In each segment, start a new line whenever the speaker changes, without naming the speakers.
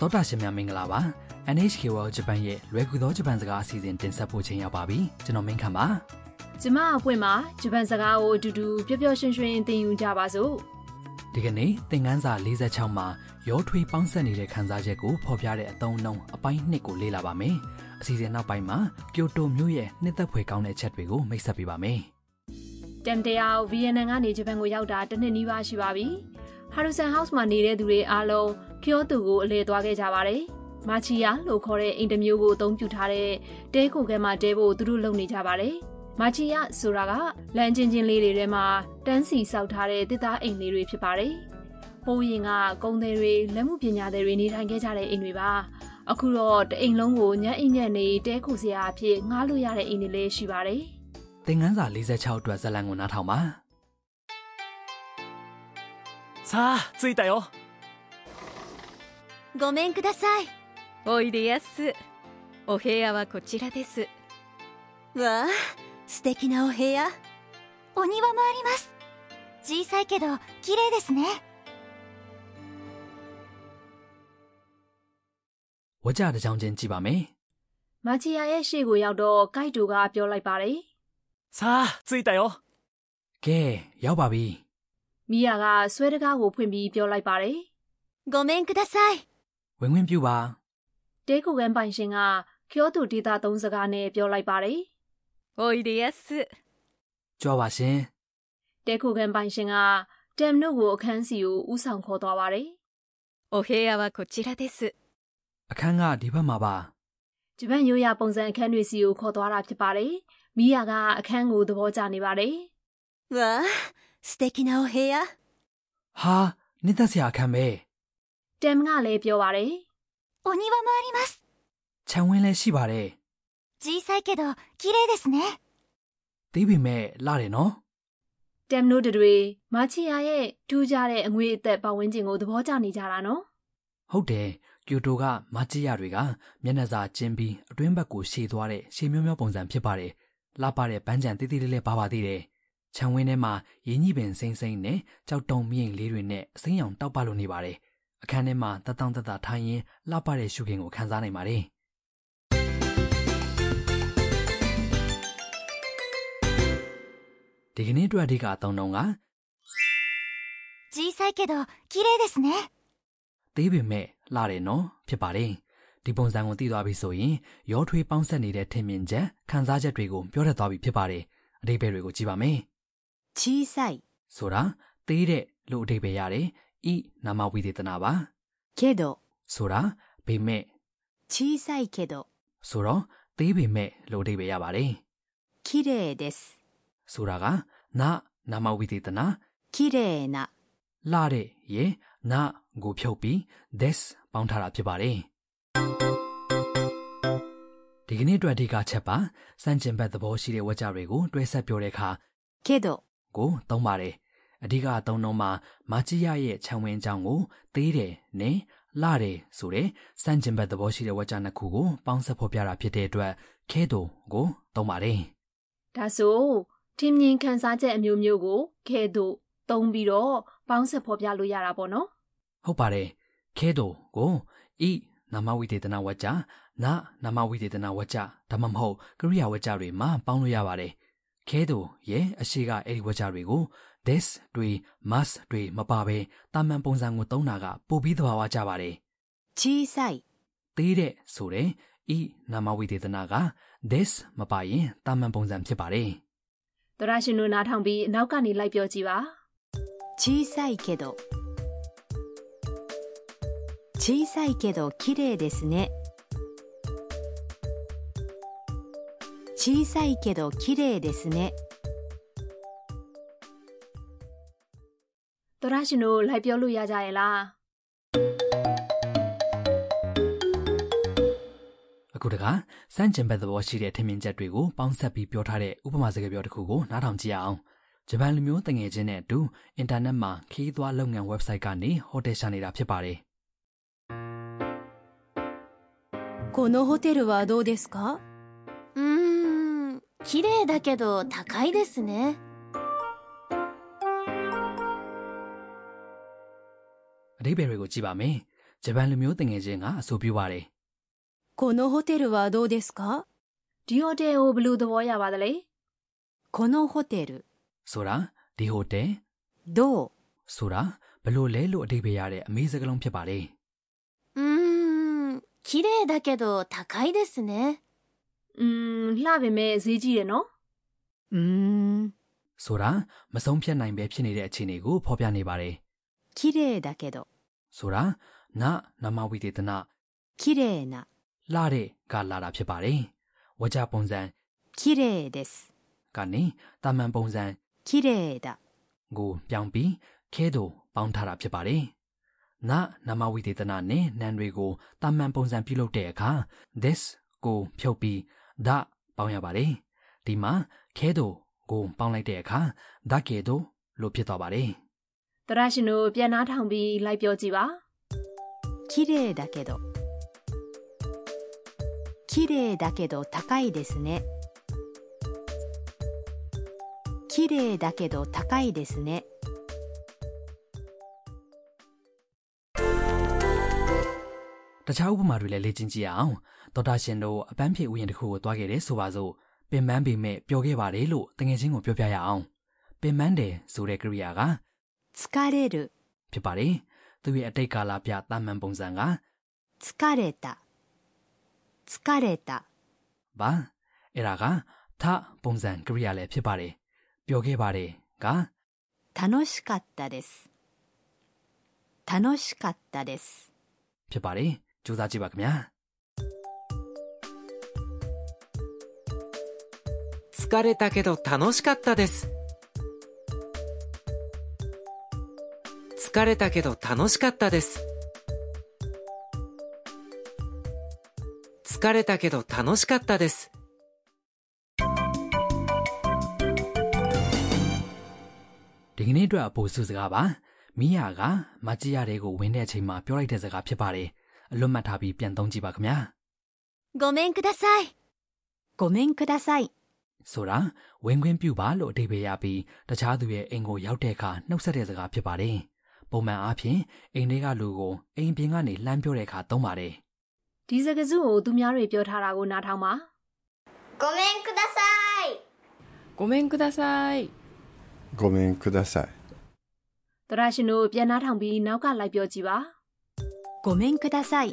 တောတာရှင်များမင်္ဂလာပါ NHK World Japan ရဲ့လွယ်ကူသောဂျပန်စကားအစီအစဉ်တင်ဆက်ဖို့ချိန်ရောက်ပါပြီကျွန်တော်မင်းခမ်းပါ
ကျမအပွင့်မှာဂျပန်စကားကိုအတူတူပျော်ပျော်ရွှင်ရွှင်သင်ယူကြပါစို့
ဒီကနေ့သင်ခန်းစာ46မှာရောထွေးပေါင်းဆက်နေတဲ့ခန်းစားချက်ကိုဖော်ပြတဲ့အသုံးအနှုန်းအပိုင်း1ကိုလေ့လာပါမယ်အစီအစဉ်နောက်ပိုင်းမှာကျိုတိုမြို့ရဲ့နှစ်သက်ဖွယ်ကောင်းတဲ့အချက်တွေကိုမိတ်ဆက်ပေးပါမယ်
တမ်တရားကိုဗီယက်နမ်ကနေဂျပန်ကိုရောက်တာတစ်နှစ်နီးပါးရှိပါပြီဟာရူဆန်ဟောက်စ်မှာနေတဲ့သူတွေအားလုံးကယောတူကိုအလဲသွားခဲ့ကြပါတယ်မာချီယာလို့ခေါ်တဲ့အိမ်တစ်မျိုးကိုအသုံးပြုထားတဲ့တဲကိုခဲမှာတဲဖို့သူတို့လုပ်နေကြပါတယ်မာချီယာဆိုတာကလမ်းချင်းချင်းလေးတွေထဲမှာတန်းစီစောက်ထားတဲ့တစ်သားအိမ်လေးတွေဖြစ်ပါတယ်ဟိုးရင်ကကုန်းတွေတွေလက်မှုပညာတွေတွေနေထိုင်ခဲ့ကြတဲ့အိမ်တွေပါ အခုတော့တအိမ်လုံးကိုညံ့အိမ်ညံ့နေတဲခုစရာအဖြစ်ငှားလို့ရတဲ့အိမ်တွေလည်းရှိပါတယ်
သင်ခန်းစာ46အတွက်ဇာတ်လမ်းကိုနားထောင်ပါ
さあ着いたよ
ごめんくださいおいでやすお部屋はこちらですわあ素敵なお部屋お庭もあります小さいけど綺麗ですね
ဝါကြတစ်ကြောင်ချင်းကြည့်ပါမယ်
မာချီယာရဲ့ရှေ့ကိုရောက်တော့ဂိုက်တူကပြောလိုက်ပါတယ်
さあ着いたよ
ကဲရောက်ပါပြီ
။မိယာကဆွဲတကားကိုဖွင့်ပြီးပြောလိုက်ပါတယ်
ごめんください
ဝင်ခွင့်ပြုပါ
။တဲကိုကန်ပိုင်ရှင်ကချောတူဒေတာသုံးစကားနဲ့ပြောလိုက်ပါတယ်
おいでやす
ကြွားပါရှင်
။တဲကိုကန်ပိုင်ရှင်ကတမ်နို့ကိုအခန်းစီကိုဥဆောင်ခေါ်သွားပါတယ်
お部屋はこちらです
အခန်းကဒီဘက်မှာပါ
။ဂျပန်ရိုးရာပုံစံအခန်းတွေစီကိုခေါ်သွားတာဖြစ်ပါတယ်။မိယာကအခန်းကိုသဘောကျနေပါတယ်
わあ素敵なお部屋
ဟာနှစ်သက်စရာအခန်းပဲ
။တမ်ကလည်းပြောပါတယ်
お庭もあります
ခြံဝင်းလည်းရှိပါတယ်
小さいけど綺麗ですね
။သိပေမဲ့လာတယ်နော်
။တမ်နို့တို့တွေမာချီယာရဲ့ထူးခြားတဲ့အငွေအသက်ပတ်ဝန်းကျင်ကိုသဘောကျနေကြတာနော်။
။ဟုတ်တယ်။ကျူတိုကမာချီယာတွေကမျက်နှာစာကျင်းပြီးအတွင်းဘက်ကိုရှည်သွားတဲ့ရှည်မျိုးမျိုးပုံစံဖြစ်ပါတယ်။လှပတဲ့ပန်းချံတိတိလေးလေးပါပါသေးတယ်။ခြံဝင်းထဲမှာရင်းကြီးပင်စိမ့်စိမ့်နဲ့ကြောက်တုံမြင့်လေးတွေနဲ့အစိမ်းရောင်တောက်ပလို့နေပါတယ်။အခန်းထဲမှာတတောင်တတထိုင်ရင်လှပတဲ့ရှုခင်းကိုခန်းစားနိုင်ပါတယ်။ဒီကနေ့အတွက်အဓိကအသုံးတော့က
小さいけど綺麗ですね
သေးပေမဲ့လှတယ်နော်ဖြစ်ပါတယ်ဒီပုံစံကိုသိသွားပြီဆိုရင်ရောထွေးပေါင်းဆက်နေတဲ့ထင်မြင်ချက်ခံစားချက်တွေကိုပြောတတ်သွားပြီဖြစ်ပါတယ်အတိပ္ပယ်တွေကိုကြည့်ပါမယ်
小さい
ဆိုတာသေးတဲ့လို့အတိပ္ပယ်ရတယ်ဤနာမဝိသေသနာပါ
けど
ဆိုတာပေမဲ့
小さいけど
ဆိုတော့သေးပေမဲ့လို့အတိပ္ပယ်ရပါတယ်
綺麗です
ဆိုတာကနာနာမဝိသေသနာ
綺麗な
လှတဲ့ရေနာကိုဖြုတ်ပြီး this ပေါင်းထားတာဖြစ်ပါတယ်ဒီကနေ့အတွက်အဓိကချက်ပါစန့်ကျင်ဘက်သဘောရှိတဲ့ဝါကြတွေကိုတွဲဆက်ပြောတဲ့အခါ
けど
ကိုသုံးပါတယ်အဓိကအသုံးတော့မှာမာချီယာရဲ့ခြံဝင်းအကြောင်းကိုသေးတယ်နဲ့လှတယ်ဆိုတဲ့စန့်ကျင်ဘက်သဘောရှိတဲ့ဝါကြနှစ်ခုကိုပေါင်းဆက်ဖော်ပြတာဖြစ်တဲ့အတွက်ခဲတုံကိုသုံးပါတယ်
ဒါဆိုထင်မြင်ခန်းစားချက်အမျိုးမျိုးကိုခဲသို့သုံးပြီးတော့ပေါင်းဆက်ဖော်ပြလို့ရတာပေါ့နော်
ဟုတ်ပါတယ်ခဲတုံကိုဤနာမဝိသေသနာဝါကြနာနာမဝိသေသနာဝါကြဒါမှမဟုတ်ကရိယာဝါကြတွေမှာပေါင်းလို့ရပါတယ်ခဲတုံရဲ့အရှိကအဲ့ဒီဝါကြတွေကို this တွေ must တွေမပါဘဲတာမန်ပုံစံကိုသုံးတာကပိုပြီးသဘာဝကျပါတယ်
小さい
သေးတဲ့ဆိုတဲ့ဤနာမဝိသေသနာက this မပါရင်တာမန်ပုံစံဖြစ်ပါတယ်
။သရရှင်တို့နားထောင်ပြီးနောက်ကနေလိုက်ပြောကြည့်ပါ
小さいけど小さいけど綺麗ですね小さいけど綺麗ですね
။သရရှင်တို့လိုက်ပြောလို့ရကြရဲ့လား
အခုတခါစမ်းကျင်ဘက်သဘောရှိတဲ့ထင်မြင်ချက်တွေကိုပေါင်းဆက်ပြီးပြောထားတဲ့ဥပမာစကားပြောတစ်ခုကိုနားထောင်ကြည့်အောင်ဂျပန်လူမျိုးတငယ်ချင်းနဲ့အတူအင်တာနက်မှာခီးသွွားလုပ်ငန်း website ကနေဟိုတယ်ရှာနေတာဖြစ်ပါတယ်
このホテルはどうですか
うーん綺麗だけど高いですね
အဓိပ္ပာယ်တွေကိုကြည့်ပါမယ် ဂျပန်လူမျိုးတငယ်ချင်းကအဆိုပြုပါတယ်
このホテルはどうですか
ဒီဟိုတယ်ကိုဘယ်လိုသဘောရပါသလဲ
このホテル、
ဆိုတာဒီဟိုတယ်
どう
ဆိုတာဘလို့လဲလို့အဓိပ္ပာယ်ရတဲ့အမေးစကားလုံးဖြစ်ပါတယ်
うーん、綺麗だけど高いですね。
อืมလှပင်မဲ့ဈေးကြီးတယ်နော်
うーん、
ဆိုတာမဆုံးဖြတ်နိုင်ပဲဖြစ်နေတဲ့အခြေအနေကိုဖော်ပြနေပါတယ်
綺麗だけど、
ဆိုတာနနမဝိတေသန
綺麗な、
လှတဲ့ကလာတာဖြစ်ပါတယ်ဝါကြပုံစံ
綺麗です。
ကနေတာမန်ပုံစံ
綺麗だ、
ကိုပြောင်းပြီးခဲတို့ပေါင်းထားတာဖြစ်ပါတယ်။နနာမဝိသေသနာနဲ့နန်တွေကိုတာမန်ပုံစံပြုလုပ်တဲ့အခါ this ကိုဖြုတ်ပြီးဒပေါင်းရပါတယ်။ဒီမှာခဲတို့ကိုပေါင်းလိုက်တဲ့အခါဒကေတို့လို့ဖြစ်သွားပါတယ်
တရရှင်တို့ပြန်နှားထောင်ပြီးလိုက်ပြောကြည့်ပါ
綺麗だけど。綺麗だけど高いですね。綺麗だけど高いですね。
။တခြားဥပမာတွေလည်းလေ့ကျင့်ကြည့်ရအောင်။ဒေါက်တာရှင်တို့အပန်းဖြေဥယျာဉ်တစ်ခုကိုသွားခဲ့တယ်ဆိုပါစို့။ပင်ပန်းပေမဲ့ပျော်ခဲ့ပါတယ်လို့တငယ်ချင်းကိုပြောပြရအောင်။ပင်ပန်းတယ်ဆိုတဲ့ကရိယာက
疲れる、
ဖြစ်ပါတယ်။သူရဲ့အတိတ်ကာလပြတာမန်ပုံစံက
疲れた。疲れた、
ပါအဲ့ဒါကထပုံစံကရိယာလည်းဖြစ်ပါတယ်ပြောခဲ့ပါတယ်က
楽しかったです。楽しかったです。
ဖြစ်ပါတယ်စူးစမ်းကြည့်ပါခင်ဗျာ
疲れたけど楽しかったです疲れたけど楽しかったです疲れたけど楽しかったです
ဒီကနေ့အတွက်အပိုစုစကားပါမိယာကမကြည့်ရတဲ့ကိုဝင်တဲ့အချိန်မှာပြောလိုက်တဲ့စကားဖြစ်ပါတယ်အလွတ်မှတ်ထားပြီးပြန်သုံးကြည့်ပါခင်ဗျာ
ごめんください。
ごめんください。
ဆိုတာဝင်ခွင့်ပြုပါလို့အဓိပ္ပာယ်ရပြီးတခြားသူရဲ့အိမ်ကိုရောက်တဲ့အခါနှုတ်ဆက်တဲ့စကားဖြစ်ပါတယ်ပုံမှန်အားဖြင့်အိမ်တွေကလူကိုအိမ်ပြင်ကနေလှမ်းပြောတဲ့အခါသုံးပါတယ်
ဒီစကားစုကိုသူများတွေပြောထားတာကိုနားထောင်ပါ
ごめんください。
ごめんください。
ごめんください。
တရရှင်တို့ပြန်နှားထောင်ပြီးနောက်ကလိုက်ပြောကြည့်ပါ
ごめんください。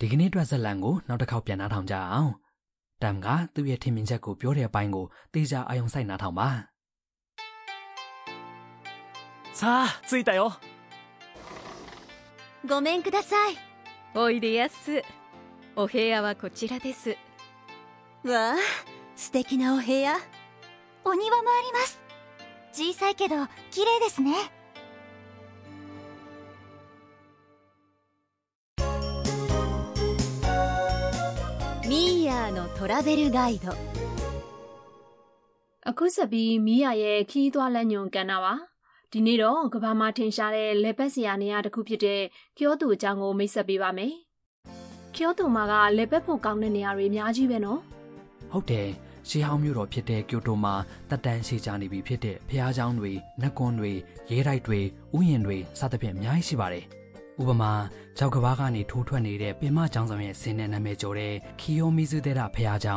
ဒီကနေ့အတွက်ဇက်လန်ကိုနောက်တစ်ခေါက်ပြန်နှားထောင်ကြအောင်။တမ်ကသူ့ရဲ့ထင်မြင်ချက်ကိုပြောတဲ့အပိုင်းကိုတေချာအာယုံစိုက်နှားထောင်ပါ
さあ着いたよ
ごめんください。
おいでやす。お部屋はこちらです。わあ、素敵なお部屋。
お庭もあります。小さいけど綺麗ですね。
ミーヤーのトラベルガイド。
အခုဆက်ပြီးမိယာရဲ့ခီးသွွားလက်ညွန်ကန်တာပါဒီနေ့တော့ကမ္ဘာမှာထင်ရှားတဲ့လက်ပတ်စရာနေရာတစ်ခုဖြစ်တဲ့ကျောတူအကြောင်းကိုမိတ်ဆက်ပေးပါမယ်ကျောတူမှာကလက်ပတ်ဖို့ကောင်းတဲ့နေရာတွေအများကြီးပဲနော်
။ဟုတ်တယ်။ရှီဟောင်းမြို့တော်ဖြစ်တဲ့ကျိုတိုမှာတက်တန်းရှိကြနေပြီဖြစ်တဲ့ဖျားเจ้าတွေ၊နက်ကွန်တွေ၊ရဲတိုက်တွေ၊ဥယျင်တွေစသဖြင့်အများကြီးရှိပါတယ်။ဥပမာကြောက်ကဘာကနေထိုးထွက်နေတဲ့ပင်မကျောင်းဆောင်ရဲ့ဆင်းတဲ့နာမည်ကျော်တဲ့ခီယိုမီဇူဒေတာဖျားเจ้า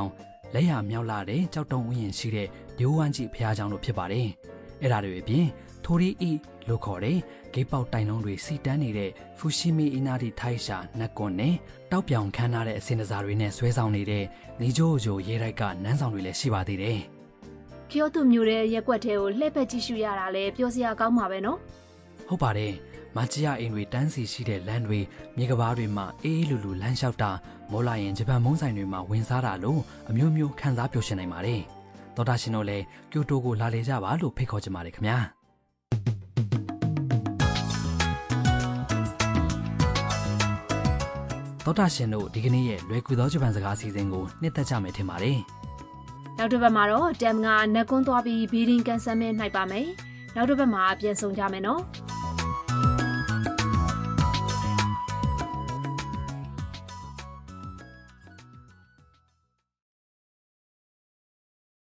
လက်ရမြောက်လာတဲ့ကြောက်တုံဥယျင်ရှိတဲ့ဒီဝမ်ကြီးဖျားเจ้าတို့ဖြစ်ပါတယ်။ အဲ့ဒါတွေအပြင်ထိုရီအီလို့ခေါ်တဲ့ဂိတ်ပေါက်တိုင်လုံးတွေစီတန်းနေတဲ့ဖူရှီမီအီနာတီထိုင်ရှာနက်ကွန်နဲ့တောက်ပြောင်ခမ်းထားတဲ့အစင်တစားတွေနဲ့ဆွဲဆောင်နေတဲ့နေဂျိုဂျိုရဲတိုက်ကနန်းဆောင်တွေလည်းရှိပါသေးတယ်
ကျောတူမြို့ရဲ့ရက်ကွက်ထဲကိုလှည့်ပတ်ကြည့်ရှုရတာလဲပြောစရာကောင်းပါပဲနော်
။ဟုတ်ပါတယ်။မချီယာအိမ်တွေတန်းစီရှိတဲ့လမ်းတွေမြေကဘာတွေမှာအေးအေးလူလူလမ်းလျှောက်တာမောလာရင်ဂျပန်မုံဆိုင်တွေမှာဝင်စားတာလို့အမျိုးမျိုးခံစားပျော်ရွှင်နိုင်ပါတယ်။တော်တာရှင်တို့လည်းကျိုတိုကိုလာလေကြပါလို့ဖိတ်ခေါ်ချင်ပါတယ်ခင်ဗျာ။ ။သောတာရှင်တို့ဒီကနေ့ရဲ့လွယ်ကူသောဂျပန်စကားအစီအစဉ်ကိုနှစ်သက်ကြမယ်ထင်ပါတယ်
နောက်တစ်ပတ်မှာတော့တမ်ကနက်ကွန်းသွားပြီးဘီဒင်ကန်ဆယ်မဲနိုင်ပါမယ်နောက်တစ်ပတ်မှာပြန်ဆောင်ကြမယ်နော်
။